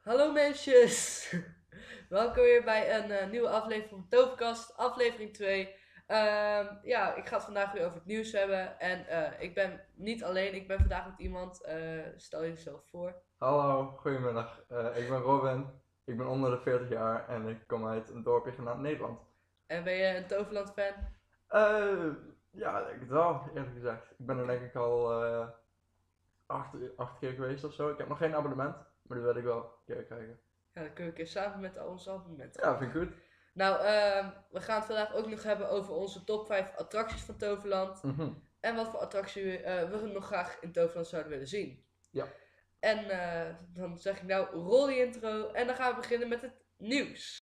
Hallo mensjes! Welkom weer bij een eh, nieuwe aflevering van Toverkast, aflevering 2. Ehm, ja, ik ga het vandaag weer over het nieuws hebben. En eh, ik ben niet alleen, ik ben vandaag met iemand. Eh, stel jezelf voor. Hallo, goedemiddag. Eh, ik ben Robin. Ik ben onder de 40 jaar en ik kom uit een dorpje genaamd Nederland. En ben je een Toverland fan? Eh, ja, ik denk het wel, eerlijk gezegd. Ik ben er denk ik al eh, acht, acht keer geweest of zo. Ik heb nog geen abonnement, maar dat wil ik wel een keer krijgen. Ja, dan kunnen we een keer samen met al onze abonnementen. Ja, vind ik goed. Nou, ehm, we gaan het vandaag ook nog hebben over onze top 5 attracties van Toverland. Mhm. En wat voor attractie eh, we nog graag in Toverland zouden willen zien. Ja. En eh, dan zeg ik nou, rol die intro en dan gaan we beginnen met het nieuws.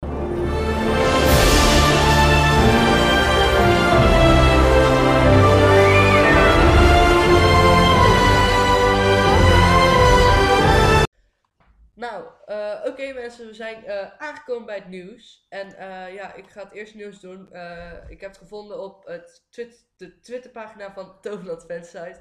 Nou, eh, oké mensen, we zijn eh, aangekomen bij het nieuws. En eh, ja, ik ga het eerste nieuws doen. Eh, ik heb het gevonden op het twit de Twitterpagina van Toverland Fansite.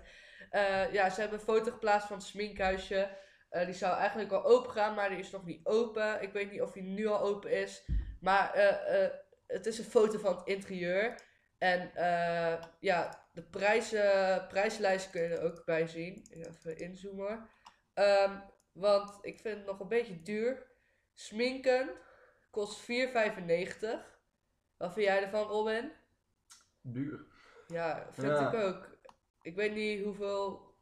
Eh ja, ze hebben een foto geplaatst van het sminkhuisje. Eh, die zou eigenlijk al open gaan, maar die is nog niet open. Ik weet niet of die nu al open is. Maar eh, eh, het is een foto van het interieur. En eh, ja, de prijzen, prijslijst kun je er ook bij zien. Even inzoomen. Ehm, want ik vind het nog een beetje duur. Sminken kost 4,95. Wat vind jij ervan, Robin? Duur. Ja, vind Ja. ik ook. Ik weet niet hoeveel,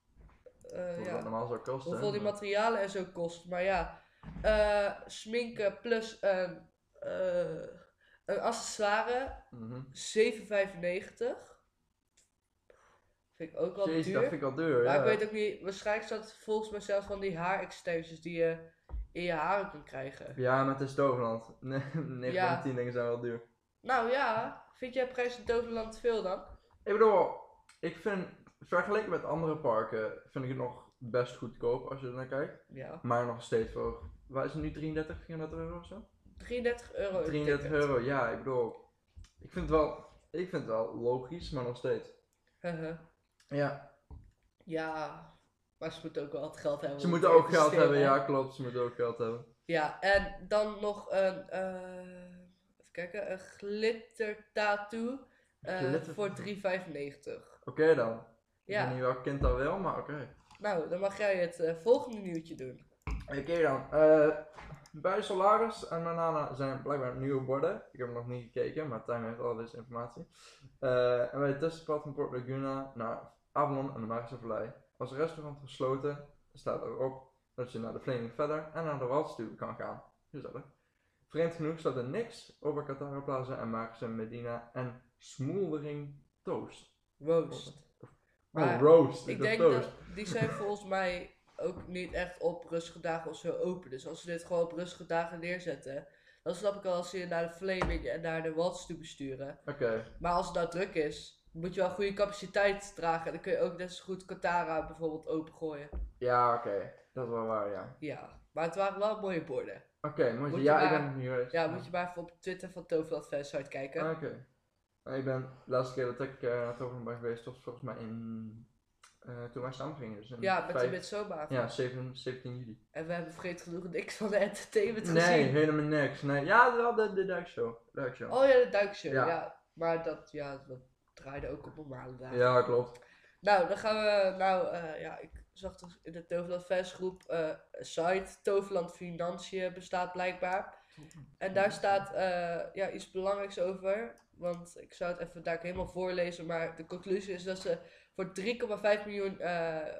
eh, Hoe dat ja, normaal zou kosten. hoeveel die maar- materialen en zo kost. Maar ja, eh, sminken plus een, eh, een accessoire, Mhm. 7,95. Vind ik ook wel Jezus, duur. dat vind ik wel duur. Maar ja. ik weet ook niet, waarschijnlijk staat het volgens mij zelfs van die haarextensions die je in je haren kunt krijgen. Ja, maar het is Toverland. Nee, 9 Ja. van 10 dingen zijn wel duur. Nou ja, vind jij prijs in Toverland veel dan? Ik bedoel, ik vind, vergeleken met andere parken, vind ik het nog best goedkoop als je er naar kijkt. Ja, Maar nog steeds voor, wat is het nu, 33, 34 euro of zo? 33 euro. een 33 ticket. euro, ja, ik bedoel, ik vind het wel, ik vind het wel logisch, maar nog steeds. Haha. Ja, Ja, maar ze moeten ook wel het geld hebben. ze om moeten te ook geld investeren. hebben, ja klopt, ze moeten ook geld hebben. Ja, en dan nog een, eh, even kijken, een glitter tattoo eh, Glitter voor tattoo. 3,95. Oké dan, ik weet Ja, niet welk kind dat wil, maar oké. nou, dan mag jij het eh, volgende nieuwtje doen. Oké dan, eh, bij Solaris en Manana zijn blijkbaar nieuwe borden. Ik heb nog niet gekeken, maar Tim heeft al deze informatie. Eh, en bij het tussenpad van Port Laguna naar Avalon en de Magische Vallei was het restaurant gesloten. Er staat erop dat je naar de Flaming Feather en naar de Waltz toe kan gaan. Gezellig. Vreemd genoeg staat er niks over Katara Plaza en Magische Medina en Smoldering Toast. Roast. Maar oh, Roast, Ik dacht denk Toast. dat die zijn volgens mij ook niet echt op rustige dagen of zo open. Dus als ze dit gewoon op rustige dagen neerzetten, dan snap ik al als ze je naar de Flaming en naar de Waltz toe besturen. Oké, Maar als het nou druk is, moet je wel goede capaciteit dragen. Dan kun je ook net zo goed Katara bijvoorbeeld opengooien. ja oké, dat is wel waar ja. Ja, maar het waren wel mooie borden. Oké, moet je, Moet je ja, maar- ik ben nog niet geweest. Ja, moet je maar even op Twitter van Toverland Fansite kijken. Ah, Oké. Nou, Ik ben de laatste keer dat ik eh naar Toverland ben geweest, was volgens mij in. eh, toen wij samen gingen. Dus in ja, met de vijf- Midsommar. Ja, 7, 17 juli. En we hebben vreed genoeg niks van de entertainment Nee, gezien. helemaal niks. Nee, ja, wel de, de duikshow. duikshow. Oh ja, de duikshow. Ja. Ja. Maar dat, ja, dat draaide ook op normale dagen. ja, klopt. Nou, dan gaan we. Nou, eh, ja, ik zag dus in de Toverland Fansgroep eh, een site. Toverland Financiën bestaat blijkbaar. En daar staat eh, ja, iets belangrijks over. Want ik zou het even daar helemaal voorlezen. Maar de conclusie is dat ze voor 3,5 miljoen eh,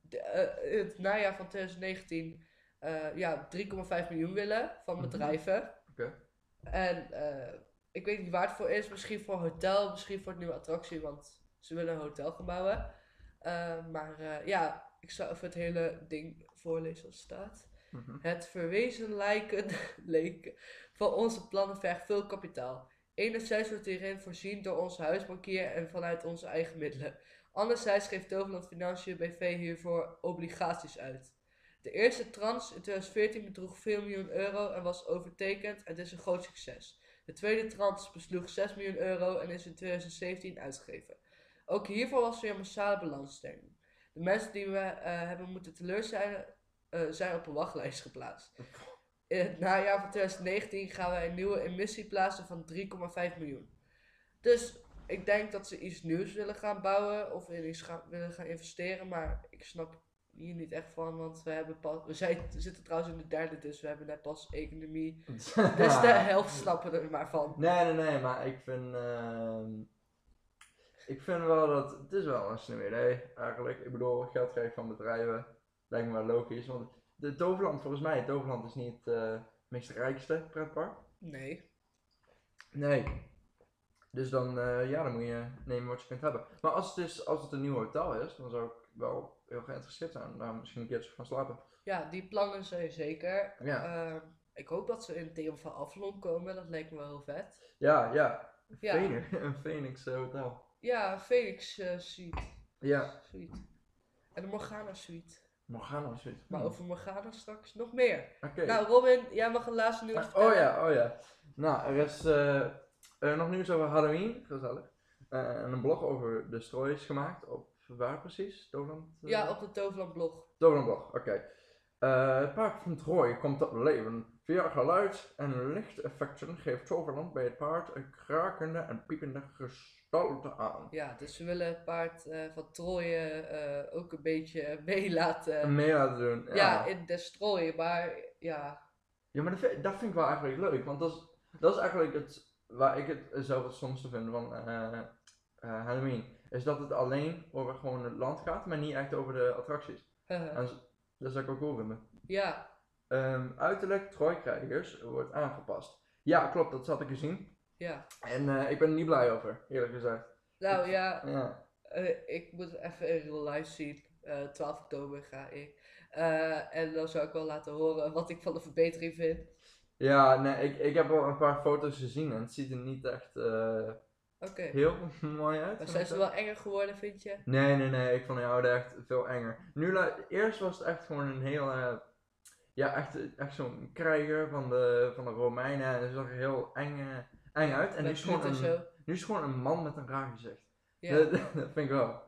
de- eh, in het najaar van 2019 eh, ja, 3,5 miljoen willen van Mhm. bedrijven. Oké. En eh, ik weet niet waar het voor is. Misschien voor een hotel, misschien voor een nieuwe attractie. Want ze willen een hotel gaan bouwen. Eh, maar eh, ja, ik zou even het hele ding voorlezen als het staat. Mhm. Het verwezenlijken leken van onze plannen vergt veel kapitaal. Enerzijds wordt hierin voorzien door onze huisbankier en vanuit onze eigen middelen. Anderzijds geeft Toverland Financiën BV hiervoor obligaties uit. De eerste trans in 2014 bedroeg 4 miljoen euro en was overtekend en is een groot succes. De tweede trans besloeg 6 miljoen euro en is in 2017 uitgegeven. Ook hiervoor was weer een massale balansstelling. De mensen die we eh, hebben moeten teleurstellen eh, zijn op een wachtlijst geplaatst. In het najaar van 2019 gaan wij een nieuwe emissie plaatsen van 3,5 miljoen. Dus ik denk dat ze iets nieuws willen gaan bouwen of in iets gaan, willen gaan investeren. Maar ik snap hier niet echt van, want we, hebben pas, we, zijn, we zitten trouwens in de derde, dus we hebben net pas economie. Dus de Ah. helft snappen er maar van. Nee, nee, nee, maar ik vind. ehm, ik vind wel dat. Het is wel een slim idee, eigenlijk. Ik bedoel, geld krijgen van bedrijven. Lijkt me wel logisch. Want de Toverland, volgens mij, Toverland is niet eh het rijkste pretpark. Nee. Nee. Dus dan, eh, ja, dan moet je nemen wat je kunt hebben. Maar als het, is, als het een nieuw hotel is, dan zou ik wel heel geïnteresseerd zijn. om Daar misschien een keertje van slapen. Ja, die plannen zijn zeker. Ja, Ehm, ik hoop dat ze in Theon van Avalon komen, dat lijkt me wel heel vet. ja, ja. Ja. Phoenix- een Phoenix eh, hotel. Ja, Felix eh Suite. Ja, Suite. En de Morgana Suite. Morgana of zoiets. Maar Hmm. over Morgana straks nog meer. Oké. Nou, Robin, jij mag het laatste nieuws Ah, oh ja, oh ja. Nou, er is eh, eh, nog nieuws over Halloween, gezellig. Eh, en een blog over de strooi is gemaakt op waar precies? Toverland? eh? Ja, op de Toverland blog. Toverlandblog, oké. Eh, het park van Troje komt tot leven. Via geluid en lichteffecten geeft Toverland bij het paard een krakende en piepende gestalte aan. Ja, dus we willen het paard eh, van Troje eh, ook een beetje mee laten. En mee laten doen. ja. in destroyen, maar ja. Ja, maar dat vind, dat vind ik wel eigenlijk leuk, want dat is, dat is eigenlijk het, waar ik het zelf het stomste vind van eh, eh, Halloween. Is dat het alleen over gewoon het land gaat, maar niet echt over de attracties. En z- dat zou ik ook cool vinden. ja, Ehm, uiterlijk Trooikrijgers wordt aangepast. Ja, klopt, dat zat ik gezien. ja. En eh, ik ben er niet blij over, eerlijk gezegd. Nou ja, Ja, eh, ik moet het even in real life zien. Eh, 12 oktober ga ik. Eh, en dan zou ik wel laten horen wat ik van de verbetering vind. ja nee, ik, ik heb al een paar foto's gezien en het ziet er niet echt eh, Oké. heel mooi uit. Maar kan zijn ik ze zeggen. wel enger geworden, vind je? Nee, nee, nee, ik vond die oude echt veel enger. Nu, la- eerst was het echt gewoon een heel, eh, ja, echt, echt zo'n krijger van de, van de Romeinen. En ze zag er heel eng, eh, eng uit. En nu Met is, gewoon bloed en een, zo. nu is gewoon een man met een raar gezicht. Ja. Dat, dat vind ik wel.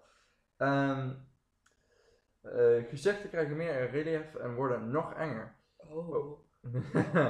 Ehm eh, gezichten krijgen meer relief en worden nog enger. oh.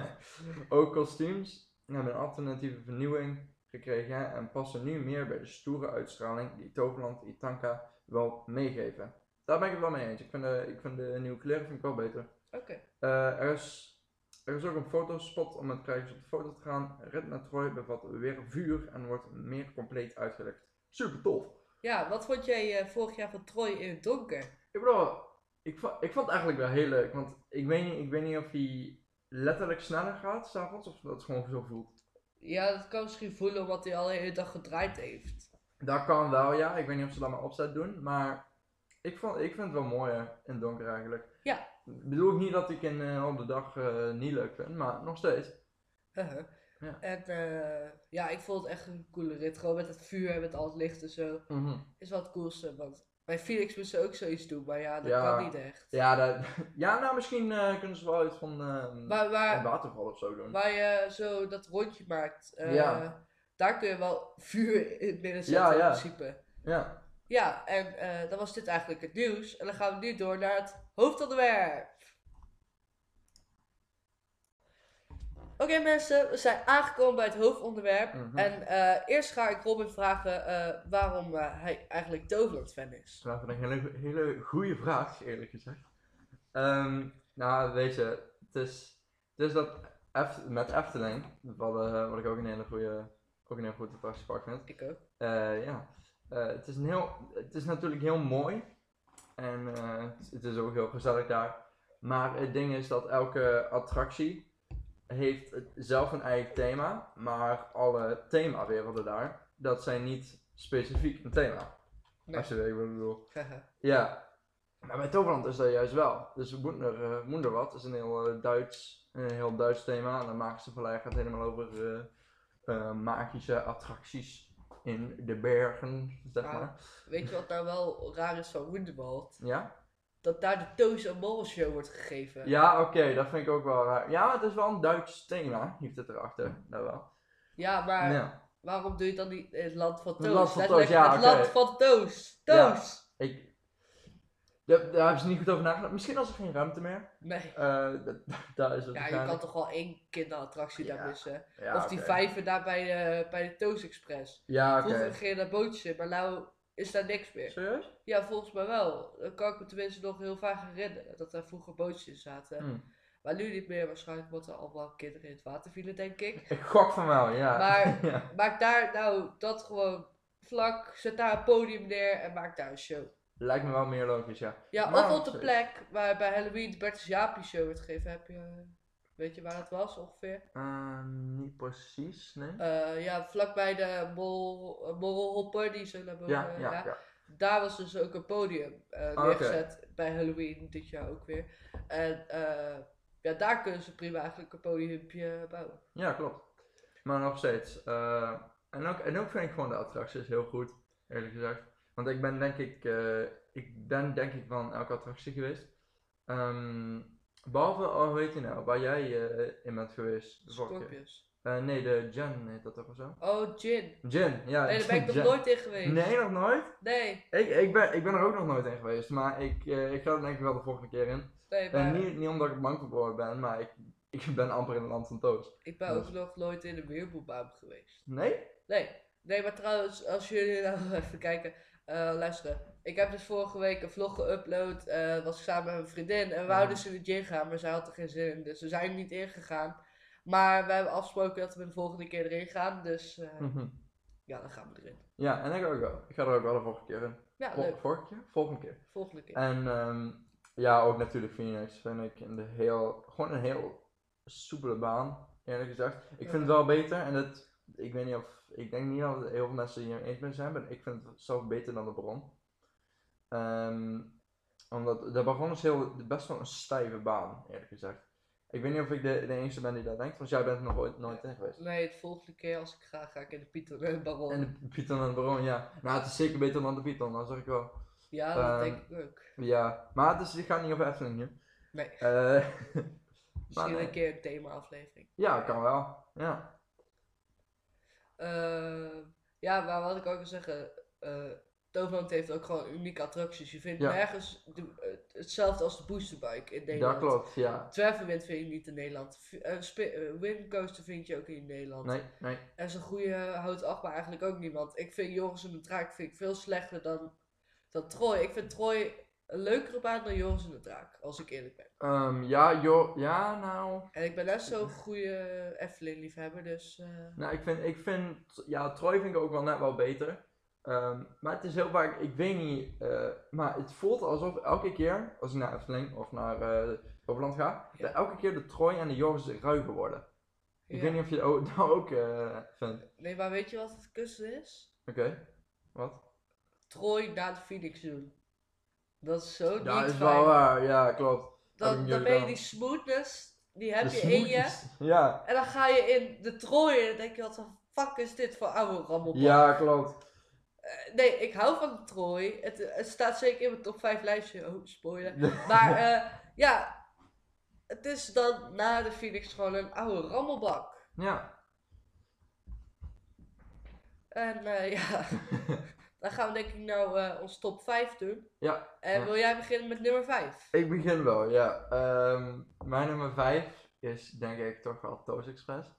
Ook kostuums hebben een alternatieve vernieuwing gekregen en passen nu meer bij de stoere uitstraling die Toverland Itanka wel meegeven. Daar ben ik het wel mee eens. Ik vind de, ik vind de nieuwe kleren vind ik wel beter. Oké. Eh, er, is, er is ook een fotospot om met krijgers op de foto te gaan. Red naar Troy bevat weer vuur en wordt meer compleet uitgelegd. Super tof! Ja, wat vond jij eh, vorig jaar van Troy in het donker? Ik bedoel, ik vond, ik vond het eigenlijk wel heel leuk, want ik weet niet, ik weet niet of hij letterlijk sneller gaat s'avonds of dat het gewoon zo voelt. Ja, dat kan misschien voelen omdat hij al de hele dag gedraaid heeft. Dat kan wel, ja. Ik weet niet of ze dat maar opzet doen, maar ik, vond, ik vind het wel mooier in het donker eigenlijk. Ja. Bedoel ik niet dat ik in eh, op de dag eh, niet leuk vind, maar nog steeds. Haha. Ja. En eh, ja, ik vond het echt een coole rit. Gewoon met het vuur en met al het licht en zo. Mhm. Is wel het coolste. Want bij Felix moest ze ook zoiets doen, maar ja, dat Ja. kan niet echt. Ja, dat, ja, nou misschien eh, kunnen ze wel iets van eh Maar een waar, waterval of zo doen. waar je zo dat rondje maakt, eh, Ja. daar kun je wel vuur in het midden zetten Ja, ja. in principe. Ja. Ja, en eh, dan was dit eigenlijk het nieuws. En dan gaan we nu door naar het hoofdonderwerp. Oké mensen, we zijn aangekomen bij het hoofdonderwerp. Mhm. En eh, eerst ga ik Robin vragen eh, waarom eh, hij eigenlijk Toverland fan is. Dat is een hele, hele goede vraag, eerlijk gezegd. Ehm, nou, weet je, het is, het is dat Eft- met Efteling, wat, eh, wat ik ook een hele goede, ook een heel goed attractiepark vind. Ik ook. Eh, ja, Eh, het, is een heel, het is natuurlijk heel mooi. En eh, het- het is ook heel gezellig daar. Maar het ding is dat elke attractie heeft het- zelf een eigen thema. Maar alle themawerelden daar, dat zijn niet specifiek een thema. Nee. Als je weet wat ik bedoel. Haha. Ja. Maar bij Toverland is dat juist wel. Dus we moeten er, eh, moeten er wat. Het is een heel, eh, Duits, een heel Duits thema. En de magische vallei gaat helemaal over eh, eh, magische attracties in de bergen, zeg Ah. maar. Weet je wat nou wel raar is van Wonderworld? Ja? Dat daar de Toos en Mol show wordt gegeven. Ja, oké, dat vind ik ook wel raar. Ja, maar het is wel een Duits thema, heeft het erachter. Dat wel. Ja, maar Ja. waarom doe je het dan niet in het land van Het Toos? land van Letterlijk, Toos, ja, Het oké. land van Toos. Ja. Toos! Ik, Daar, daar hebben ze niet goed over nagedacht. Misschien was er geen ruimte meer. Nee. Eh, dat- daar is het Ja, je waarschijnlijk. kan toch wel één kinderattractie Ja. daar missen. Ja, of die oké. vijver daar bij, eh, bij de Toast Express. Ja, oké. Vroeger ging je naar bootjes in, maar nou is daar niks meer. Serieus? Ja, volgens mij wel. Dan kan ik me tenminste nog heel vaak herinneren dat daar vroeger bootjes in zaten. Hm. Maar nu niet meer, waarschijnlijk omdat er allemaal kinderen in het water vielen, denk ik. Ik gok van wel, ja. Maar- ja. Maak daar nou dat gewoon vlak, zet daar een podium neer en maak daar een show. Lijkt me wel meer logisch, ja. Ja, Nou, of op de zeker. plek waar bij Halloween de Bertus Jaapie show werd gegeven, heb je, weet je waar dat was ongeveer? Eh, niet precies, nee. Eh, ja, vlakbij de mol, eh, morrelhopper, die zo naar boven. ja, ja, eh, ja. Oh, ja. Daar was dus ook een podium eh, oké. neergezet bij Halloween dit jaar ook weer. En eh, ja, daar kunnen ze prima eigenlijk een podiumpje bouwen. Ja, klopt. Maar nog steeds. eh, en, ook, en ook vind ik gewoon de attracties heel goed, eerlijk gezegd. Want ik ben denk ik, eh, ik ben denk ik van elke attractie geweest. Ehm, behalve, oh, hoe heet die nou, waar jij eh, in bent geweest. de vorige keer. Scorpius. Eh, nee, de Jen heet dat toch of zo? Oh, Gin. Jen, ja. Nee, daar ben ik nog Jen. nooit in geweest. Eh, Nee, nog nooit? Nee, Ik, ik, ben, ik ben er ook nog nooit in geweest, maar ik, eh, ik ga er denk ik wel de volgende keer in. nee, En maar niet, niet omdat ik bang voor boren ben, maar ik, ik ben amper in het land van Toos. ik ben ook nog nooit in de Weerboelbaan geweest. Nee? Nee. Nee, maar trouwens, als jullie nou even kijken, eh, luisteren. Ik heb dus vorige week een vlog geüpload, eh, was ik samen met mijn vriendin. En we Ja. wouden ze in de gym gaan, maar zij had er geen zin in. Dus we zijn er niet ingegaan. Maar we hebben afgesproken dat we de volgende keer erin gaan. Dus eh, Mhm. ja, dan gaan we erin. Ja, en ik ook wel. Ik ga er ook wel de volgende keer in. Ja, Vol- leuk. vorige keer? Volgende keer. Volgende keer. En ehm, ja, ook natuurlijk Phoenix vind ik een heel, gewoon een heel soepele baan, eerlijk gezegd. Ik vind het wel beter en dat, ik weet niet of, ik denk niet dat heel veel mensen hier eens mee zijn, maar ik vind het zelf beter dan de bron. Ehm, omdat de bron is heel, best wel een stijve baan, eerlijk gezegd. Ik weet niet of ik de, de enige ben die dat denkt, want jij bent er nog ooit nooit in geweest. Nee, de volgende keer als ik ga, ga ik in de Pieter en Baron. En de Python en de Baron, ja. Nou, het is zeker beter dan de Python, dat zeg ik wel. Ja, dat ehm, denk ik ook. Ja, maar dus ik ga niet over Efteling nu. Nee. Eh, Misschien nee. een keer een thema-aflevering. ja, kan wel. Ja. Eh, ja, maar wat ik ook wil zeggen, eh Toverland heeft ook gewoon unieke attracties. Je vindt Ja. nergens de- het- hetzelfde als de boosterbike in Nederland. Dat klopt, ja. Twervelwind vind je niet in Nederland. V- eh, spi- eh, Windcoaster vind je ook niet in Nederland. Nee, nee. En zo'n goede houdt achtbaar eigenlijk ook niet. Want ik vind Joris en de Draak vind ik veel slechter dan, dan Troy. Ik vind Troy een leukere baan dan Joris en de Draak, als ik eerlijk ben. Ehm, ja, joh. Ja, nou. En ik ben net zo'n goede Efteling-liefhebber, dus... eh, Nou, ik vind, ik vind, ja, Troy vind ik ook wel net wel beter. Ehm, maar het is heel vaak, ik weet niet, eh, maar het voelt alsof elke keer, als ik naar Efteling of naar eh Overland ga, Ja. dat elke keer de Troy en de Joris ruiger worden. Ik ja. weet niet of je dat ook, dat ook eh, vindt. Nee, maar weet je wat het kussen is? Oké, wat? Troy na de Phoenix doen. Dat is zo Ja, niet is fijn. wel waar. Ja, klopt. Heb Dan, ik dan ben je nu gedaan. die smoothness, die heb De je in je. smoothies. Ja. En dan ga je in de Troy en dan denk je, wat de fuck is dit voor oude rammelpop? Ja, klopt. Eh, Nee, ik hou van de Troy. Het, het staat zeker in mijn top 5 lijstje. Oh, spoiler. Maar eh, ja, het is dan na de Phoenix gewoon een oude rammelbak. Ja, En eh, ja, dan gaan we denk ik nou eh ons top 5 doen. Ja. En Ja. wil jij beginnen met nummer 5? ik begin wel, ja. Ehm, mijn nummer 5 is denk ik toch wel Toast Express.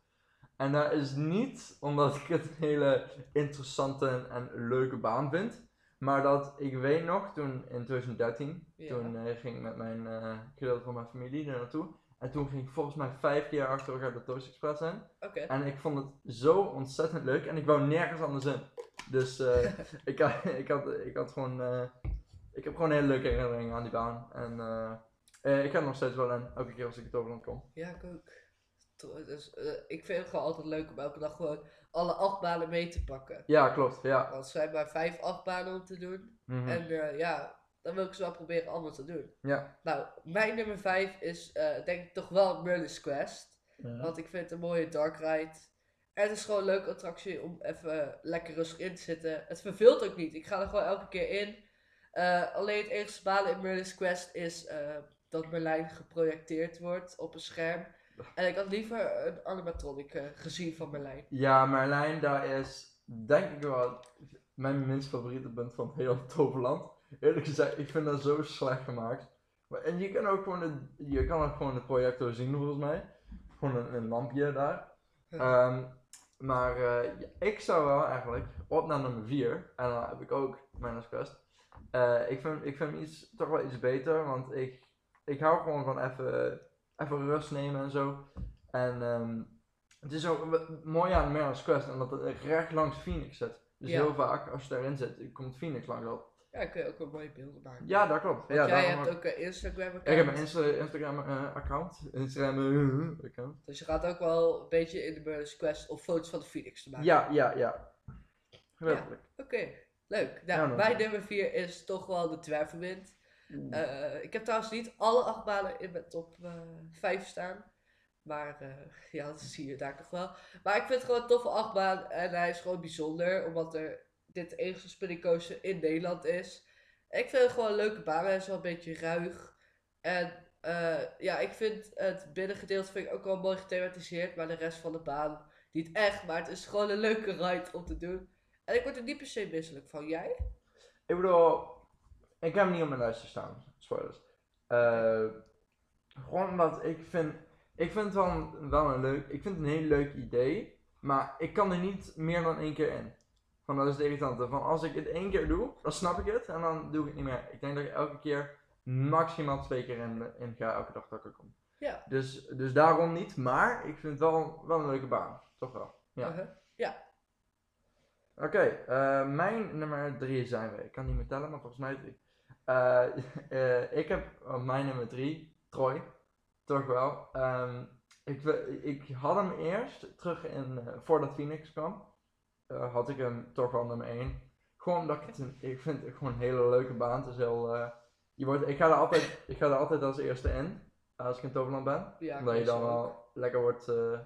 En dat is niet omdat ik het een hele interessante en- en leuke baan vind. Maar dat ik weet nog, toen in 2013, Ja. toen eh, ging ik met mijn eh gedeelte van mijn familie er naartoe. En toen ging ik volgens mij vijf keer achter elkaar de Toast Express in. Oké. En ik vond het zo ontzettend leuk en ik wou nergens anders in. Dus eh, ik, had, ik, had, ik had gewoon. eh, ik heb gewoon een hele leuke herinneringen aan die baan. En eh, eh, ik ga er nog steeds wel in, elke keer als ik het overland kom. Ja, ik ook. Tro- Dus, eh, ik vind het gewoon altijd leuk om elke dag gewoon alle achtbanen mee te pakken. Ja, klopt. Ja. Want er zijn maar vijf achtbanen om te doen. Mhm. En eh, ja, dan wil ik ze wel proberen allemaal te doen. Ja. Nou, mijn nummer vijf is eh, denk ik toch wel Merlin's Quest. Ja. Want ik vind het een mooie dark ride. En het is gewoon een leuke attractie om even lekker rustig in te zitten. Het verveelt ook niet. Ik ga er gewoon elke keer in. Eh, alleen het enige balen in Merlin's Quest is eh, dat Merlijn geprojecteerd wordt op een scherm. En ik had liever een animatronic eh, gezien van Merlijn. ja, Marlijn, daar is denk ik wel mijn minst favoriete punt van heel Toverland. Eerlijk gezegd, ik vind dat zo slecht gemaakt. Maar, en je kan ook gewoon de, je kan ook gewoon de projector zien volgens mij. Gewoon een, een lampje daar. Ehm, maar eh, ja, ik zou wel eigenlijk op naar nummer 4. En dan heb ik ook Manus Quest. Eh, ik vind, ik vind hem iets, toch wel iets beter, want ik, ik hou gewoon van even, even rust nemen en zo. En ehm, het is ook w- mooi aan Manus Quest, omdat het recht langs Phoenix zit. Dus Ja. heel vaak, als je daarin zit, komt Phoenix langs op. Ja, dan kun je ook wel mooie beelden maken. Ja, dat klopt. Want jij Ja, daarom hebt ook- ook een Instagram Ik account. heb een Insta- Instagram eh, account. Instagram eh, account. Dus je gaat ook wel een beetje in de Murder's Quest om foto's van de Phoenix te maken. Ja, ja, ja. Geweldig. Oké, leuk. Nou, Ja, dan- mijn nummer 4 is toch wel de Dwervenwind. Eh, ik heb trouwens niet alle achtbanen in mijn top 5 staan. Maar eh, ja, dat zie je daar nog wel. Maar ik vind het gewoon een toffe achtbaan. En hij is gewoon bijzonder, omdat er dit de enige spinning coaster in Nederland is. Ik vind het gewoon een leuke baan. Hij is wel een beetje ruig. En eh, ja, ik vind het binnengedeelte vind ik ook wel mooi gethematiseerd. Maar de rest van de baan niet echt. Maar het is gewoon een leuke ride om te doen. En ik word er niet per se misselijk van. Jij? Ik bedoel, ik heb hem niet op mijn lijstje staan. Spoilers. Eh, gewoon omdat ik vind, ik vind het wel een, wel een leuk, ik vind het een heel leuk idee. Maar ik kan er niet meer dan één keer in. Van dat is het irritante. Van als ik het één keer doe, dan snap ik het en dan doe ik het niet meer. Ik denk dat ik elke keer maximaal twee keer in, in ga, elke dag dat ik er kom. Ja. Dus, dus daarom niet, maar ik vind het wel, wel een leuke baan. Toch wel. Ja. Uh-huh. Oké, eh, mijn nummer 3 zijn we. Ik kan niet meer tellen, maar volgens mij drie. Eh, eh, ik heb op mijn nummer 3, Troy. Toch wel. Ehm, ik, we- ik had hem eerst, terug in, eh, voordat Phoenix kwam, eh, had ik hem toch wel nummer 1. Gewoon omdat ik het een, ik vind het gewoon een hele leuke baan. Het is heel, eh, je wordt, ik, ga er altijd, ik ga er altijd als eerste in, als ik in Toverland ben. Ja, Omdat je ik dan ook. wel lekker wordt, eh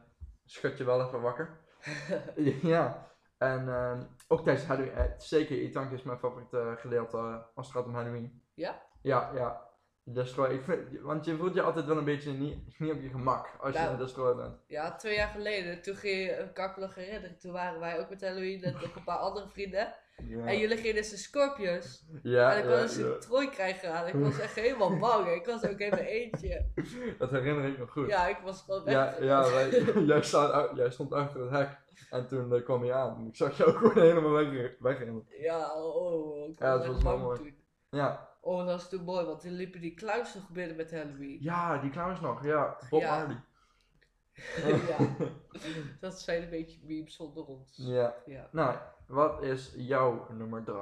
schud je wel even wakker. ja, en ehm, ook tijdens Halloween. eh, zeker, Itank is mijn favoriete eh, gedeelte als het gaat om Halloween. Ja? Ja, ja. Destroy. Ik vind, want je voelt je altijd wel een beetje niet, niet op je gemak als je Nou. een destroyer bent. Ja, twee jaar geleden, toen ging je een kakkelige herinneren. Toen waren wij ook met Halloween en nog een paar andere vrienden. Ja, En jullie gingen dus de Scorpions. ja, en ik ja, wilde dus ja. een trooi krijgen aan. Ik was echt helemaal bang. Ik was ook in mijn eentje. Dat herinner ik me goed. Ja, ik was gewoon weg. ja, ja, wij- jij, staat, jij stond achter het hek en toen eh, kwam je aan. En Ik zag je ook gewoon helemaal weg, wegrennen. Ja, oh, ik was, Ja, dat echt was wel bang mooi. toen. Ja. Oh, dat was toen mooi, want toen liepen die clowns nog binnen met Halloween. ja, die clowns nog. Ja, Bob Ja. Hardy. Ja. Dat zijn een beetje memes zonder ons. Ja. Ja. Nou, wat is jouw nummer 3?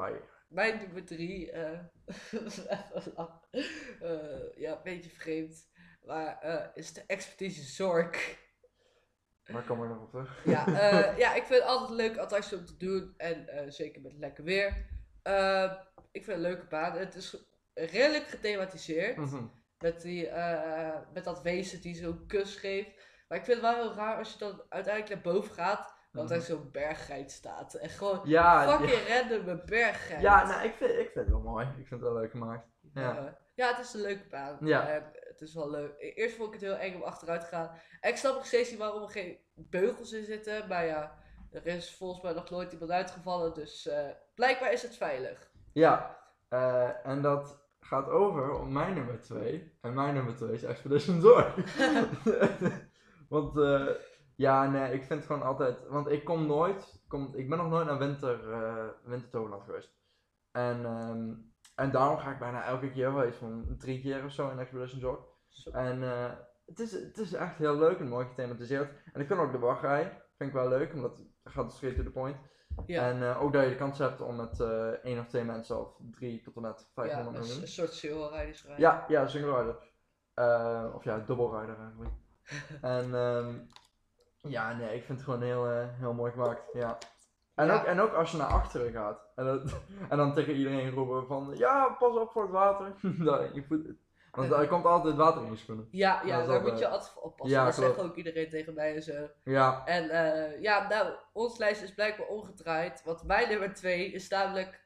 Mijn nummer drie, eh, even lang. Eh, ja, een beetje vreemd, maar eh, is de Expeditie Zork. Waar kom ik nog op terug? Ja, eh, ja, ik vind het altijd leuk attractie om te doen. En eh, zeker met lekker weer. Eh, ik vind het een leuke baan. Het is redelijk gethematiseerd. Mhm. Met, die, eh, met dat wezen die zo'n kus geeft. Maar ik vind het wel heel raar als je dan uiteindelijk naar boven gaat. Dat er Mhm. zo'n berggeit staat. En gewoon Ja, ja, fucking random een berggeit. ja nou, ik, vind, ik vind het wel mooi. Ik vind het wel leuk gemaakt. Ja. Eh, ja, het is een leuke baan. Ja. En het is wel leuk. E- Eerst vond ik het heel eng om achteruit te gaan. En ik snap nog steeds niet waarom er geen beugels in zitten. Maar ja, er is volgens mij nog nooit iemand uitgevallen. Dus eh, blijkbaar is het veilig. Ja, eh, en dat gaat over op mijn nummer 2. En mijn nummer 2 is Expedition Zorg. want eh, ja, nee, ik vind het gewoon altijd. Want ik kom nooit. Kom, ik ben nog nooit naar Winter, eh Wintertoverland geweest. En, ehm, en daarom ga ik bijna elke keer wel iets van drie keer of zo in Expedition Zorg. Zo. En eh, het, is, het is echt heel leuk en mooi gethematiseerd. En ik vind ook de wachtrij. Vind ik wel leuk, omdat het gaat straight to the point. Ja. En eh, ook dat je de kans hebt om met eh één of twee mensen of drie tot en met ja, dus 500 een, miljoen. een soort zeelrijders rijden. Ja, ja, single rider. Eh, of ja, double rider eigenlijk. en ehm, ja, nee, ik vind het gewoon heel, eh, heel mooi gemaakt. Ja. En, Ja. Ook, en ook als je naar achteren gaat en, dat- en dan tegen iedereen roepen van ja, pas op voor het water. Daar, je voet, want daar komt altijd water in je schoenen. Ja, Ja, ja dat daar wel. moet je altijd voor oppassen. Ja, dat zegt klopt. ook iedereen tegen mij en zo. Ja, En eh, ja, nou, ons lijst is blijkbaar omgedraaid. Want mijn nummer twee is namelijk...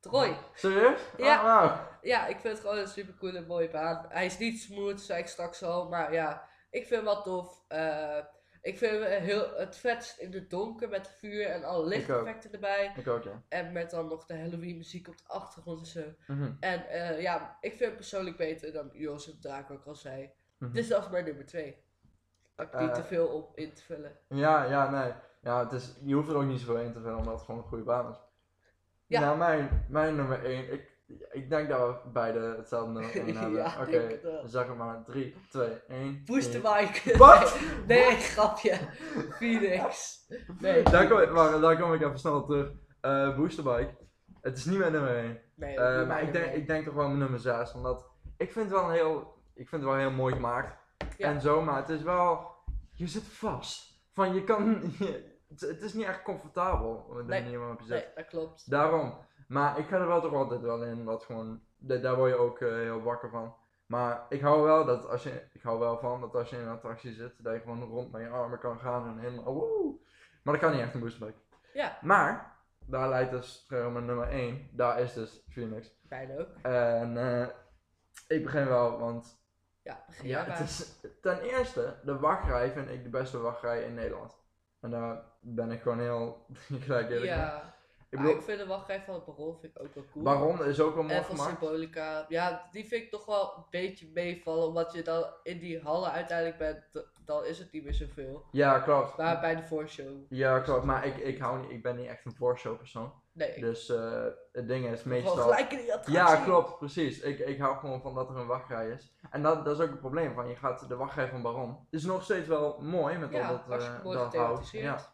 Troy. serieus? Ja. Ah, wauw. Ja, ik vind het gewoon een super coole, mooie baan. Hij is niet smooth, zei ik straks al. Maar ja, ik vind hem wel tof. Eh, Ik vind hem eh, heel, het vetst in het donker met vuur en alle lichteffecten erbij. Ik ook, ja. En met dan nog de Halloween muziek op de achtergrond en zo. Mhm, En eh, ja, ik vind hem persoonlijk beter dan Jozef Draak ook al zei. mhm. Dus dat is mijn nummer 2. Had ik niet Eh. te veel op in te vullen. Ja, ja, nee. Ja, het is, je hoeft er ook niet zoveel in te vullen, omdat het gewoon een goede baan is. Ja. Nou, mijn, mijn nummer 1. Ik, ik denk dat we beide hetzelfde nummer 1 hebben. Ja, Oh, nou, Oké, denk het wel. zeg het maar. 3, 2, 1. Booster Mike. Wat? Nee, nee, grapje. Phoenix. Nee. Daar kom, ik- maar, daar kom ik even snel op terug. Eh Boosterbike. Het is niet mijn nummer 1. Nee, Eh, doe maar ik denk, nummer ik denk toch wel mijn nummer 6. Omdat ik vind het wel een heel. Ik vind het wel heel mooi gemaakt. Ja. En zo, maar het is wel. Je zit vast. Van je kan. je- het, het is niet echt comfortabel. De Nee, manier waarop je één. zit. Nee, dat klopt. Daarom. Maar ik ga er wel toch altijd wel in. Wat gewoon. da- daar word je ook eh, heel wakker van. Maar ik hou wel dat als je. Ik hou wel van dat als je in een attractie zit. Dat je gewoon rond met je armen kan gaan. En helemaal. Woe. Maar dat kan niet echt een boosterbike. Ja. Maar. Daar leidt dus terug op mijn nummer 1. Daar is dus Phoenix. Fijn ook. En eh, ik begin wel, want Ja, begin ja, jij maar. het is, ten eerste, de wachtrij vind ik de beste wachtrij in Nederland. En daar ben ik gewoon heel gelijk eerlijk mee. Ja, Ik maar bedoel, ik vind de wachtrij van het Baron vind ik ook wel cool. Baron is ook wel mooi En van gemaakt. Symbolica. Ja, die vind ik toch wel een beetje meevallen. Omdat je dan in die hallen uiteindelijk bent, d- dan is het niet meer zoveel. Ja, klopt. Maar bij de voorshow, Ja, klopt. Maar ik, ik, hou niet, ik ben niet echt een voorshow persoon. nee. ik Dus eh, het ding is wil Gewoon meestal... gelijk in die attractie. Ja, klopt. Precies. Ik, ik hou gewoon van dat er een wachtrij is. En dat, dat is ook het probleem. Van, je gaat de wachtrij van Baron. Is nog steeds wel mooi met Ja, al dat, eh hartstikke mooi dat hout. gethematiseerd. Ja.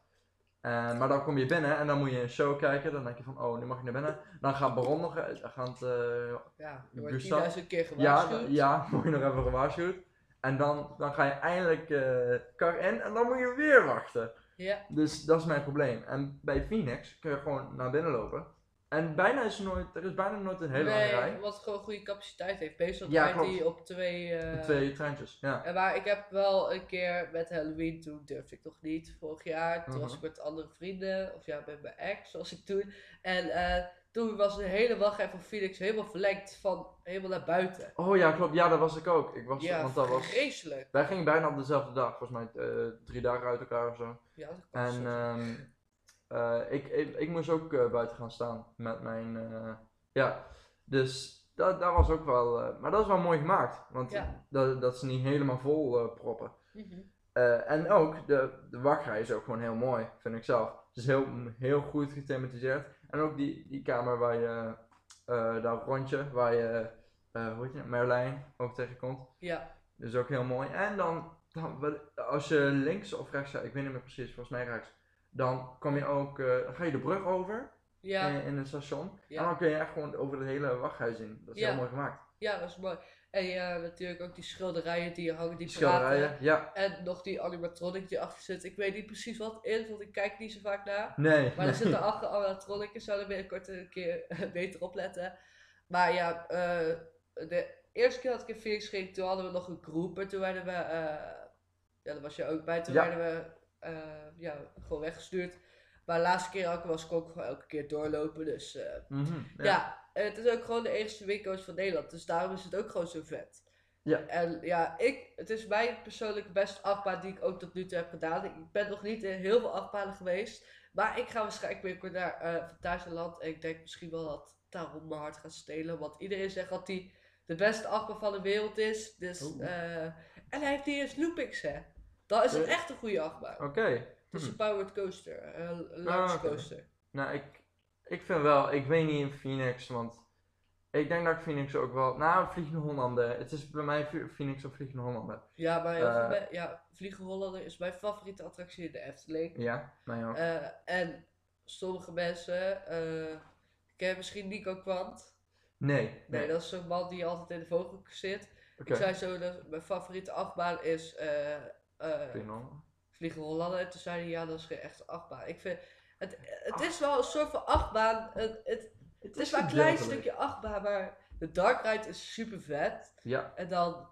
Eh, maar dan kom je binnen en dan moet je een show kijken. Dan denk je van, oh, nu mag je naar binnen. Dan gaat Baron nog... eh, Dan gaat, eh, Ja, je wordt Gustav? 10.000 keer ja, gewaarschuwd. ja, moet je nog even gewaarschuwd. En dan, dan ga je eindelijk eh, kar in en dan moet je weer wachten. Ja. Dus dat is mijn probleem. En bij Phoenix kun je gewoon naar binnen lopen. En bijna is er nooit... Er is bijna nooit een hele lange Nee, rij. wat gewoon goede capaciteit heeft. Meestal Ja, draait klopt. die op twee... eh, Twee treintjes, ja. En Eh, maar ik heb wel een keer met Halloween, toen durfde ik nog niet, vorig jaar. Toen was Mhm. ik met andere vrienden, of ja, met mijn ex, zoals ik toen. En eh, toen was de hele wachtrij van Felix helemaal verlengd, van helemaal naar buiten. Oh ja, klopt. Ja, dat was ik ook. Ik was, ja, want dat was, vreselijk. wij gingen bijna op dezelfde dag. Volgens mij eh, drie dagen uit elkaar of zo. Ja, dat kan En soms. ehm, eh, ik, ik, ik moest ook eh, buiten gaan staan met mijn... eh, ja, dus dat, dat was ook wel... eh, maar dat is wel mooi gemaakt. Want Ja. dat, dat ze niet helemaal vol eh, proppen. Mhm. Eh, en ook, de, de wachtrij is ook gewoon heel mooi, vind ik zelf. Het is heel, heel goed gethematiseerd. En ook die, die kamer waar je, eh dat rondje, waar je, eh, hoe heet je, het, Merlijn ook tegenkomt. Ja, Dus ook heel mooi. En dan, dan wel- als je links of rechts gaat, ik weet niet meer precies, volgens mij rechts. Dan kom je ook, eh, dan ga je de brug over ja, in, in het station. Ja. En dan kun je echt gewoon over de hele wachtrij zien. Dat is Ja. heel mooi gemaakt. ja, dat is mooi. En ja, natuurlijk ook die schilderijen die hangen, die Die schilderijen. schilderijen, ja. En nog die animatronic die achter zit. Ik weet niet precies wat in, want ik kijk niet zo vaak naar. Nee. Maar nee. er zitten achter animatronicen, zouden we binnenkort een keer beter opletten. Maar ja, eh, de eerste keer dat ik in Phoenix ging, toen hadden we nog een groep. En toen werden we, eh, ja, daar was je ook bij, toen Ja. werden we eh, ja, gewoon weggestuurd. Maar de laatste keer had ik- was ik ook gewoon elke keer doorlopen. Dus eh, Mhm, ja. en het is ook gewoon de enigste winkels van Nederland. Dus daarom is het ook gewoon zo vet. Ja. En ja, ik, het is mijn persoonlijke beste achtbaan die ik ook tot nu toe heb gedaan. Ik ben nog niet in heel veel achtbanen geweest. Maar ik ga waarschijnlijk binnenkort naar eh Fantasieland. En ik denk misschien wel dat daarom mijn hart gaat stelen. Want iedereen zegt dat hij de beste achtbaan van de wereld is. Dus, Oeh. eh, en hij heeft niet eens loopings, hè. Dan is het Oh. Ja. echt een goede achtbaan. Oké. Het is Hm. Ah, een powered coaster. eh, Een lounge oké. coaster. Nou, ik, ik vind wel, ik weet niet in Phoenix, want ik denk dat ik Phoenix ook wel. Nou, Vliegende Hollanden. Het is bij mij Ph- Phoenix of Vliegende Hollanden. Ja, maar heel veel Eh. me- ja, Vliegen Hollander is mijn favoriete attractie in de Efteling. Ja, mij ook. Eh, en sommige mensen, eh ken je misschien Nico Kwant? nee, Nee, nee. dat is zo'n man die altijd in de vogel zit. Oké. Ik zei zo dat mijn favoriete achtbaan is eh eh, Vliegende Hollander. Vliegen Hollander. En toen zei hij, ja, dat is geen echte achtbaan. Ik vind, het, het is wel een soort van achtbaan. Het, het, het is maar een klein gedeeltelijk. stukje achtbaan, maar de dark ride is super vet. Ja. En dan,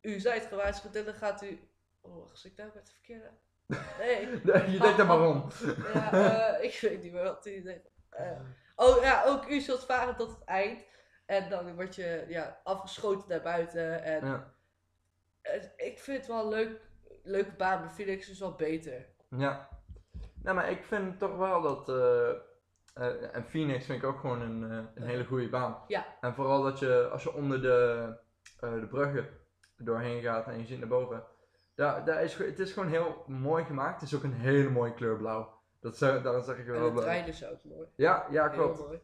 u zijt gewaarschuwd en dan gaat u... Oh, was ik nou met de verkeerde? Nee, Je denkt er maar om. ja, eh, ik weet niet meer wat hij denkt. Eh, oh ja, ook u zult varen tot het eind. En dan word je ja, afgeschoten naar buiten. En Ja. het- ik vind het wel een leuk leuke baan, maar Phoenix is wel beter. Ja. Nou, maar ik vind toch wel dat. eh, eh, en Phoenix vind ik ook gewoon een, eh, een hele goede baan. Ja. En vooral dat je, als je onder de, eh, de bruggen doorheen gaat en je ziet naar boven. Daar, daar is, ge- het is gewoon heel mooi gemaakt. Het is ook een hele mooie kleur blauw. Dat zou, daar zeg ik En wel de blauw. trein is ook mooi. Ja, ja, Heel klopt. mooi.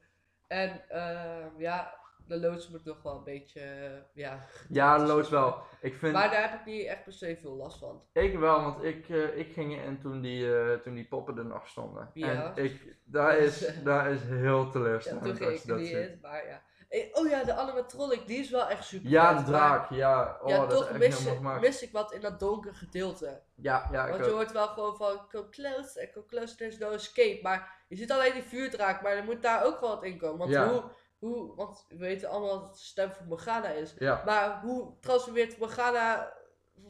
En ehm, ja, de loods moet nog wel een beetje, eh, ja. Ja, loods wel. Ik vind... Maar daar heb ik niet echt per se veel last van. Ik wel, want ik, eh, ik ging in toen die, eh, toen die poppen er nog stonden. Ja. En ik, daar, is, daar is heel Ja, teleurstellend toen ging als ik je er dat niet ziet. in, maar ja. Eh, Oh ja, de animatronic, die is wel echt super. Ja, vet, de maar- draak, ja. Oh, ja, dat is toch echt mis, helemaal gemaakt. mis ik wat in dat donker gedeelte. Ja, ja, ik Want je ook. hoort wel gewoon van, come close, en come close, there's no escape. Maar je ziet alleen die vuurdraak, maar er moet daar ook wel wat in komen. Want Ja. hoe, hoe, want we weten allemaal dat het de stem van Morgana is. Ja. Maar hoe transformeert Morgana...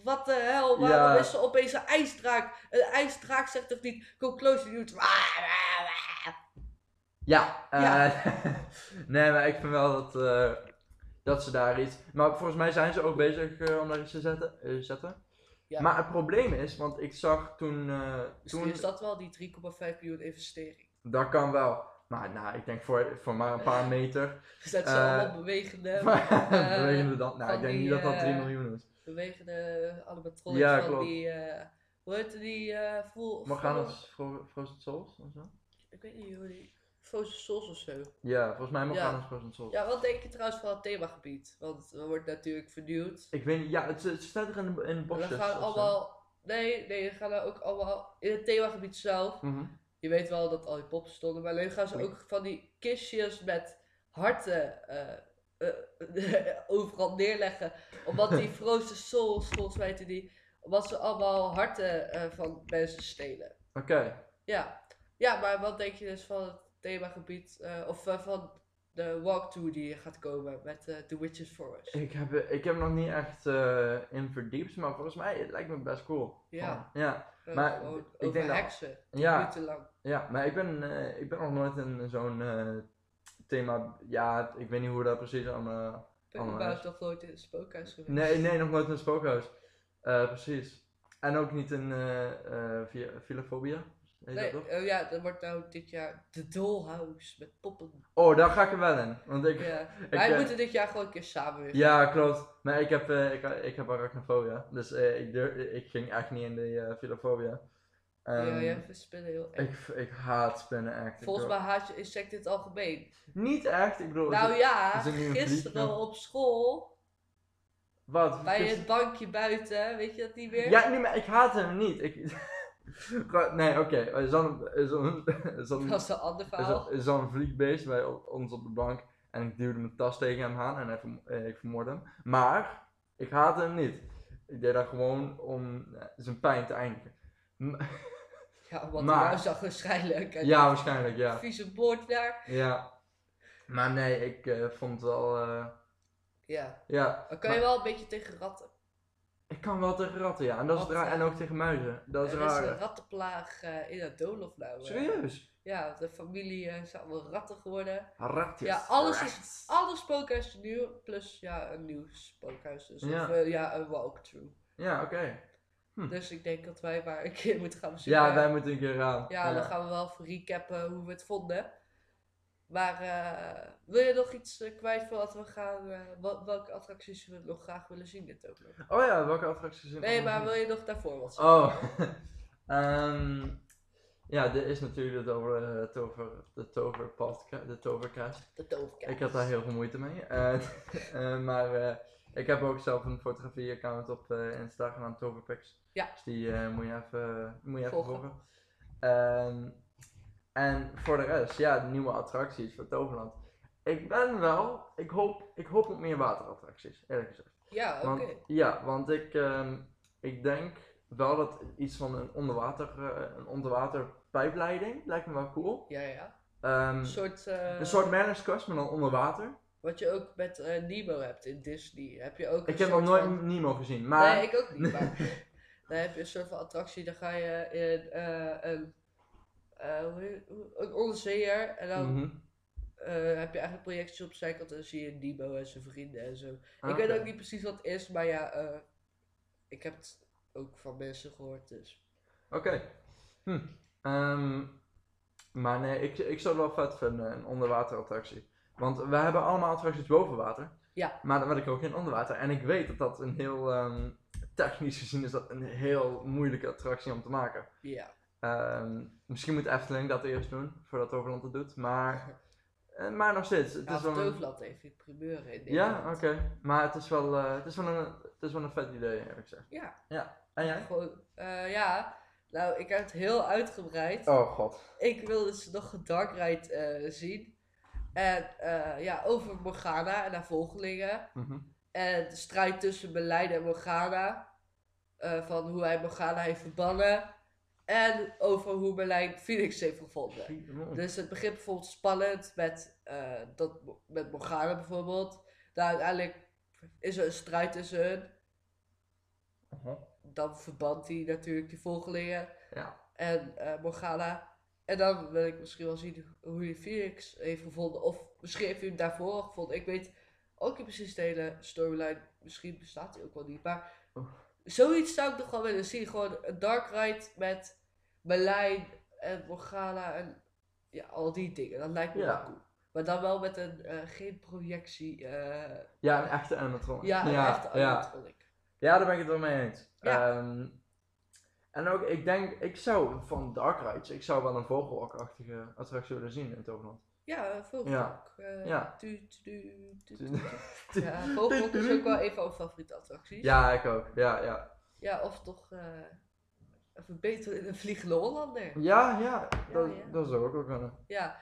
Wat de hel, waarom Ja. is ze opeens een ijsdraak? Een ijsdraak zegt toch niet, kom close, Ah, die doet... Ja, Ja. eh, nee, maar ik vind wel dat, eh, dat ze daar iets... Maar volgens mij zijn ze ook bezig eh, om daar iets te zetten. eh, zetten. Ja. Maar het probleem is, want ik zag toen... eh, Misschien toen Dus is dat wel die 3,5 miljoen investering. dat kan wel. Maar nou, ik denk voor, voor maar een paar meter... Zet ze Eh, allemaal bewegende, Maar bewegende dan. Nou, van ik denk die, niet dat dat eh, 3 miljoen is. bewegende animatronics Ja, van klopt. die... eh, hoe heette die? eh full, Morgana's Fro- Frozen Souls of zo? Ik weet niet hoe die... Frozen Souls of zo. Ja, volgens mij Morgana's Frozen Souls. Ja, wat denk je trouwens van het themagebied? Want er wordt natuurlijk vernieuwd. Ik weet niet, ja, het, het staat er in, de- in We boxjes. of gaan zo. allemaal... Nee, nee, we gaan daar ook allemaal... In het themagebied zelf. Mhm. Je weet wel dat al die poppen stonden. Maar nu gaan ze ook van die kistjes met harten eh, eh, overal neerleggen. Omdat die Frozen Souls, volgens mij heette die... Omdat ze allemaal harten eh, van mensen stelen. Oké, Ja. ja, maar wat denk je dus van het themagebied, eh, of eh, van de walkthrough die gaat komen met eh, The Witches Forest? ik heb, ik heb nog niet echt eh, in verdiept, maar volgens mij het lijkt me best cool. Ja. Ja, Eh, maar gewoon ik over denk dat- heksen, ja, minuten lang. ja maar ik ben, eh, ik ben nog nooit in zo'n eh, thema, ja, ik weet niet hoe dat precies allemaal... Ik ben Oh, überhaupt nice. nog nooit in het spookhuis geweest. Nee, nee, nog nooit in een spookhuis. Eh, precies. En ook niet in eh eh via, Filofobia. Heet Nee, dat toch? eh, ja, er wordt nou dit jaar de Dollhouse met poppen. Oh, daar ga ik er wel in. Want ik, ja, Ja. Wij eh, moeten dit jaar gewoon een keer samen weer. klopt. Maar ik heb, eh ik, ik heb arachnofobia. Dus eh, ik, durf, ik ging echt niet in de eh Filofobia. Ja, Ehm, ja, we spinnen heel erg. ik, ik haat spinnen echt. Ik Volgens wil- mij haat je insecten in het algemeen. Niet echt, ik bedoel... Nou het- ja, is er nu een gisteren vliegtuig? op school, Wat? bij Gisteren- het bankje buiten, weet je dat niet meer? Ja, nee, maar ik haat hem niet. Ik... Gewoon- nee, oké. Er is dan- er is dan- er is dan- Dat is een ander Er verhaal. zat- Er zat een vliegbeest bij o- ons op de bank. En ik duwde mijn tas tegen hem aan en hij verm- eh, ik vermoordde hem. Maar ik haatte hem niet. Ik deed dat gewoon om eh, zijn pijn te eindigen. M- Ja, want Maar- maar... die zag waarschijnlijk. En ja, waarschijnlijk, die ja. Vieze boord daar. ja. Maar nee, ik eh, vond het wel. eh, Ja. ja. Dan kan je Maar- wel een beetje tegen ratten. Ik kan wel tegen ratten, ja. En, dat is Ratten. raar. en ook tegen muizen. Dat is eh, er is een raar. rattenplaag eh, in het doolhof nou. eh. Serieus? Ja, want de familie eh, is allemaal ratten geworden. Ratjes. Ja, alles is- Rats. Alle spookhuizen nieuw, plus ja, een nieuw spookhuis. Dus Ja. of, eh, ja, een walkthrough. Ja, oké. Dus ik denk dat wij maar een keer moeten gaan bezoeken. Ja, wij moeten een keer aan. Ja, dan gaan we wel even recappen hoe we het vonden. Maar eh, wil je nog iets eh, kwijt voor wat we gaan... eh, wel- welke attracties we nog graag willen zien dit ook nog? Oh ja, welke attracties zijn Nee, maar we? wil je nog daarvoor wat zeggen? Oh. Ehm, ja, er is natuurlijk het over eh, tover, de toverpodcast, de tovercast. De toverkaart. Ik had daar heel veel moeite mee. Eh, eh, maar eh, ik heb ook zelf een fotografie-account op eh, Insta genaamd Toverpix. Ja. Dus die eh, moet je even, moet je even Volgen. volgen. Ehm, en voor de rest, ja, de nieuwe attracties voor Toverland. Ik ben wel, ik hoop, ik hoop op meer waterattracties, eerlijk gezegd. Ja, oké. Want, Ja, want ik, ehm, ik denk wel dat iets van een onderwater, eh, een onderwaterpijpleiding lijkt me wel cool. Ja, ja. Ehm, Een soort, eh, een soort Mariners Quest, maar dan onder water. Wat je ook met eh, Nemo hebt in Disney. Heb je ook Ik een heb nog soort nooit van- Nemo gezien, maar Nee, ik ook niet. Maar... dan heb je een soort van attractie. Dan ga je in eh, een... eh, hoe heet- hoe- een onderzeeër. En dan Mhm. eh, heb je eigenlijk projecties op zijn kant. En dan zie je Nemo en zijn vrienden en zo. Ah, ik weet oké. ook niet precies wat het is. Maar ja, eh, ik heb het ook van mensen gehoord, dus. Oké. Hm. Ehm, maar nee, ik, ik zou het wel vet vinden, een onderwaterattractie. Want we hebben allemaal attracties boven water. Ja. Maar dan wil ik ook in onderwater. En ik weet dat dat een heel, ehm, technisch gezien is dat een heel moeilijke attractie om te maken. Ja. Ehm, misschien moet Efteling dat eerst doen, voordat Overland het doet. Maar, eh, maar nog steeds. Het Ja, is wel een- Toverland heeft die primeuren in Ja, Nederland. oké. Maar het is, wel, eh, het, is wel een, het is wel een vet idee, eerlijk gezegd. Ja. ja. En jij? Gewoon, eh, ja. Nou, ik heb het heel uitgebreid. Oh god. Ik wil dus nog een dark ride eh, zien. En eh, ja, over Morgana en haar volgelingen. Mhm. En de strijd tussen Merlijn en Morgana. eh, van hoe hij Morgana heeft verbannen. En over hoe Merlijn Phoenix heeft gevonden. Dus het begint bijvoorbeeld spannend met, eh, dat, met Morgana bijvoorbeeld. Daar uiteindelijk is er een strijd tussen hun. Aha. Dan verbandt hij natuurlijk die volgelingen Ja. en eh, Morgana. En dan wil ik misschien wel zien hoe hij Phoenix heeft gevonden. Of misschien heeft hij hem daarvoor al gevonden. Ik weet ook niet precies de hele storyline. Misschien bestaat hij ook wel niet. Maar Oeh. zoiets zou ik nog wel willen zien. Gewoon een dark ride met Merlijn en Morgana en ja, al die dingen. Dat lijkt me Ja. wel cool. Maar dan wel met een, eh, geen projectie. eh, ja, een echte animatronic. ja, een ja, echte ja. animatronic. Ja, daar ben ik het wel mee eens. Ja. Ehm, en ook, ik denk, ik zou van Dark Rides, ik zou wel een vogelokachtige attractie willen zien in het Overland. Ja, eh, vogel. Ja. Ja. Ja, Vogelrok is ook wel een van mijn favoriete attracties. Ja, ik ook. Ja, ja. Ja, of toch eh even beter in een vliegende Hollander. Ja, ja. Dat, ja. dat zou ook wel kunnen. Ja,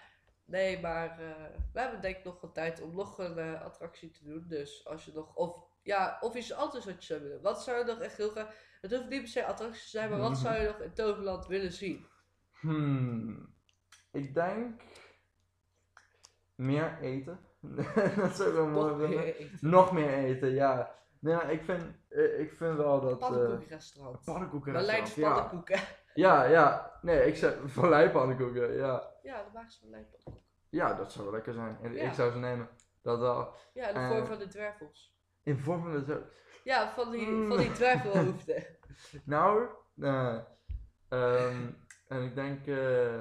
nee, maar eh, we hebben denk ik nog wat tijd om nog een eh, attractie te doen. Dus als je nog, of ja, of iets anders wat je zou willen. Wat zou je nog echt heel graag, het hoeft niet per se attracties te zijn, maar wat zou je nog in Toverland willen zien? Hmm. Ik denk... Meer eten. dat zou ik wel mooi Nog vinden. meer eten. Nog meer eten, ja. Nee, maar ik vind, eh, ik vind wel dat... eh, Pannenkoekenrestaurant. Pannenkoeken. Berlijns ja. dus pannenkoeken. ja, ja. Nee, ik zei... Vallei pannenkoeken, ja. Ja, de maagse van Berlijn pannenkoeken. Ja, dat zou wel lekker zijn. En Ja. Ik zou ze nemen. Dat wel. Ja, in de Eh. vorm van de dwervels. In vorm van de zo- Ja, van die, Hmm. van die dwervelhoofden. Nou, eh, ehm, en ik denk, eh,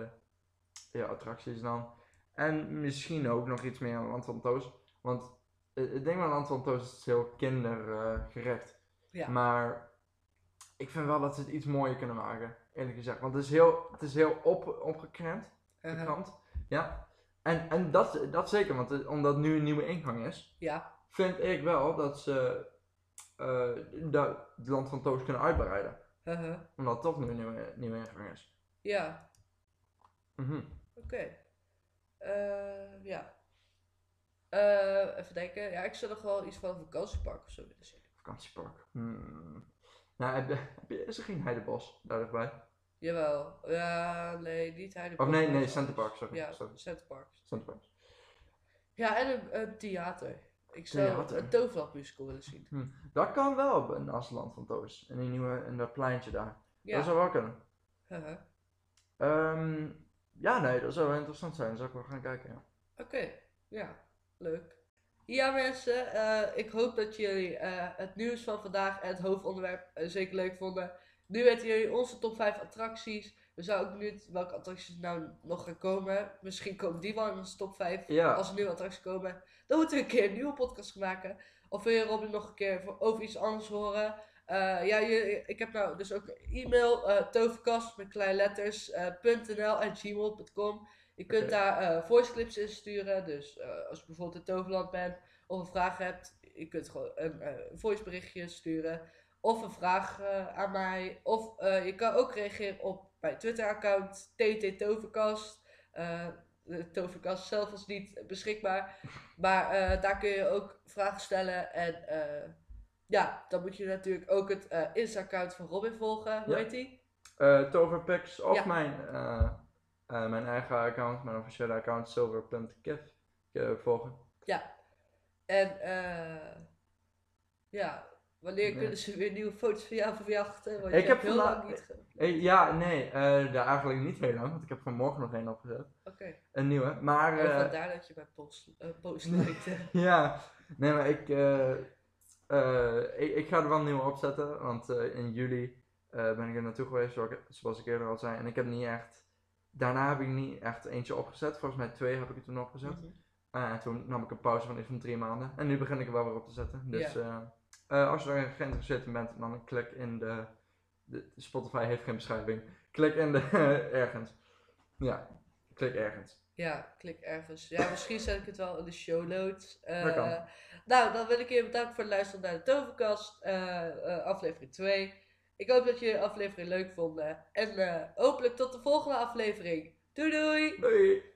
ja, attracties dan. En misschien ook nog iets meer aan Land van Toos. Want eh, ik denk wel Land van Toos is heel kindergerecht. Ja. Maar ik vind wel dat ze het iets mooier kunnen maken, eerlijk gezegd. Want het is heel, het is heel op, opgekrimpt. de Uh-huh. krant. Ja. En, en dat, dat zeker, want eh, omdat nu een nieuwe ingang is, Ja. vind ik wel dat ze eh, dat het land van Toos kunnen uitbreiden. Uh-huh. Omdat toch nu een nieuwe, nieuwe ingang is. Ja. Mhm. Oké. Eh, ja. Eh, even denken. Ja, ik zou nog wel iets van een vakantiepark of zo willen zien. Vakantiepark. Hmm. Nou, heb, je- heb je, is er geen Heidebos daar dichtbij? Jawel. Ja, nee, niet Heidepark. Of nee, maar nee, iets Centerpark, anders. sorry. Ja, sorry. Centerpark. Centerpark. Ja, en een, een theater. Ik zou Theater? een Toverland musical willen zien. Dat kan wel op een Asland van Toos. In, die nieuwe, in dat pleintje daar. Ja. Uh-huh. Dat zou wel kunnen. haha. Ehm, ja, nee, dat zou wel interessant zijn. Zou ik wel gaan kijken, ja. Oké, ja, leuk. Ja mensen, eh, ik hoop dat jullie eh, het nieuws van vandaag en het hoofdonderwerp eh, zeker leuk vonden. Nu weten jullie onze top 5 attracties. We zouden ook benieuwd welke attracties nou nog gaan komen. Misschien komen die wel in onze top 5. Ja. Als er nieuwe attracties komen, dan moeten we een keer een nieuwe podcast gaan maken. Of wil je Robin nog een keer voor- over iets anders horen? Eh, ja, je, ik heb nou dus ook een e-mail, eh toverkast met kleine letters, eh, .nl en gmail.com. Je kunt Oké. daar eh voice clips in sturen, dus eh, als je bijvoorbeeld in Toverland bent of een vraag hebt, je kunt gewoon een eh voice berichtje sturen of een vraag eh, aan mij. Of eh, je kan ook reageren op mijn Twitter-account, TT Toverkast. Eh, de toverkast zelf is niet beschikbaar, maar eh, daar kun je ook vragen stellen en... eh, ja, dan moet je natuurlijk ook het eh, Insta-account van Robin volgen. Hoe Ja. heet die? eh Toverpix of Ja. mijn, eh, eh, mijn eigen account, mijn officiële account silver.kif eh, volgen. En eh ja, wanneer Ja. kunnen ze weer nieuwe foto's van jou verjachten? Want Ik je heb hebt heel vandaag- lang niet ge... Oké. Eh, ja, nee, eh, daar eigenlijk niet heel lang, want ik heb vanmorgen nog één opgezet. Een nieuwe, maar... En eh, vandaar dat je bij post, eh, post lijkt. hè. ja, nee, maar ik, eh, Eh, ik, ik ga er wel een nieuwe opzetten, want eh, in juli eh, ben ik er naartoe geweest, zoals ik, zoals ik eerder al zei. En ik heb niet echt, daarna heb ik niet echt eentje opgezet. Volgens mij twee heb ik er toen opgezet. Eh, en toen nam ik een pauze van iets van drie maanden. En nu begin ik er wel weer op te zetten. Dus eh, eh, als je daarin geïnteresseerd in bent, dan klik in de, de- Spotify heeft geen beschrijving. Klik in de... ergens. Ja, klik ergens. Ja, klik ergens. Ja, misschien zet ik het wel in de show notes. Eh, Dat kan. Nou, dan wil ik je bedanken voor het luisteren naar de Toverkast, eh, eh, aflevering 2. Ik hoop dat je de aflevering leuk vond. eh, en eh, hopelijk tot de volgende aflevering. Doei doei! Doei!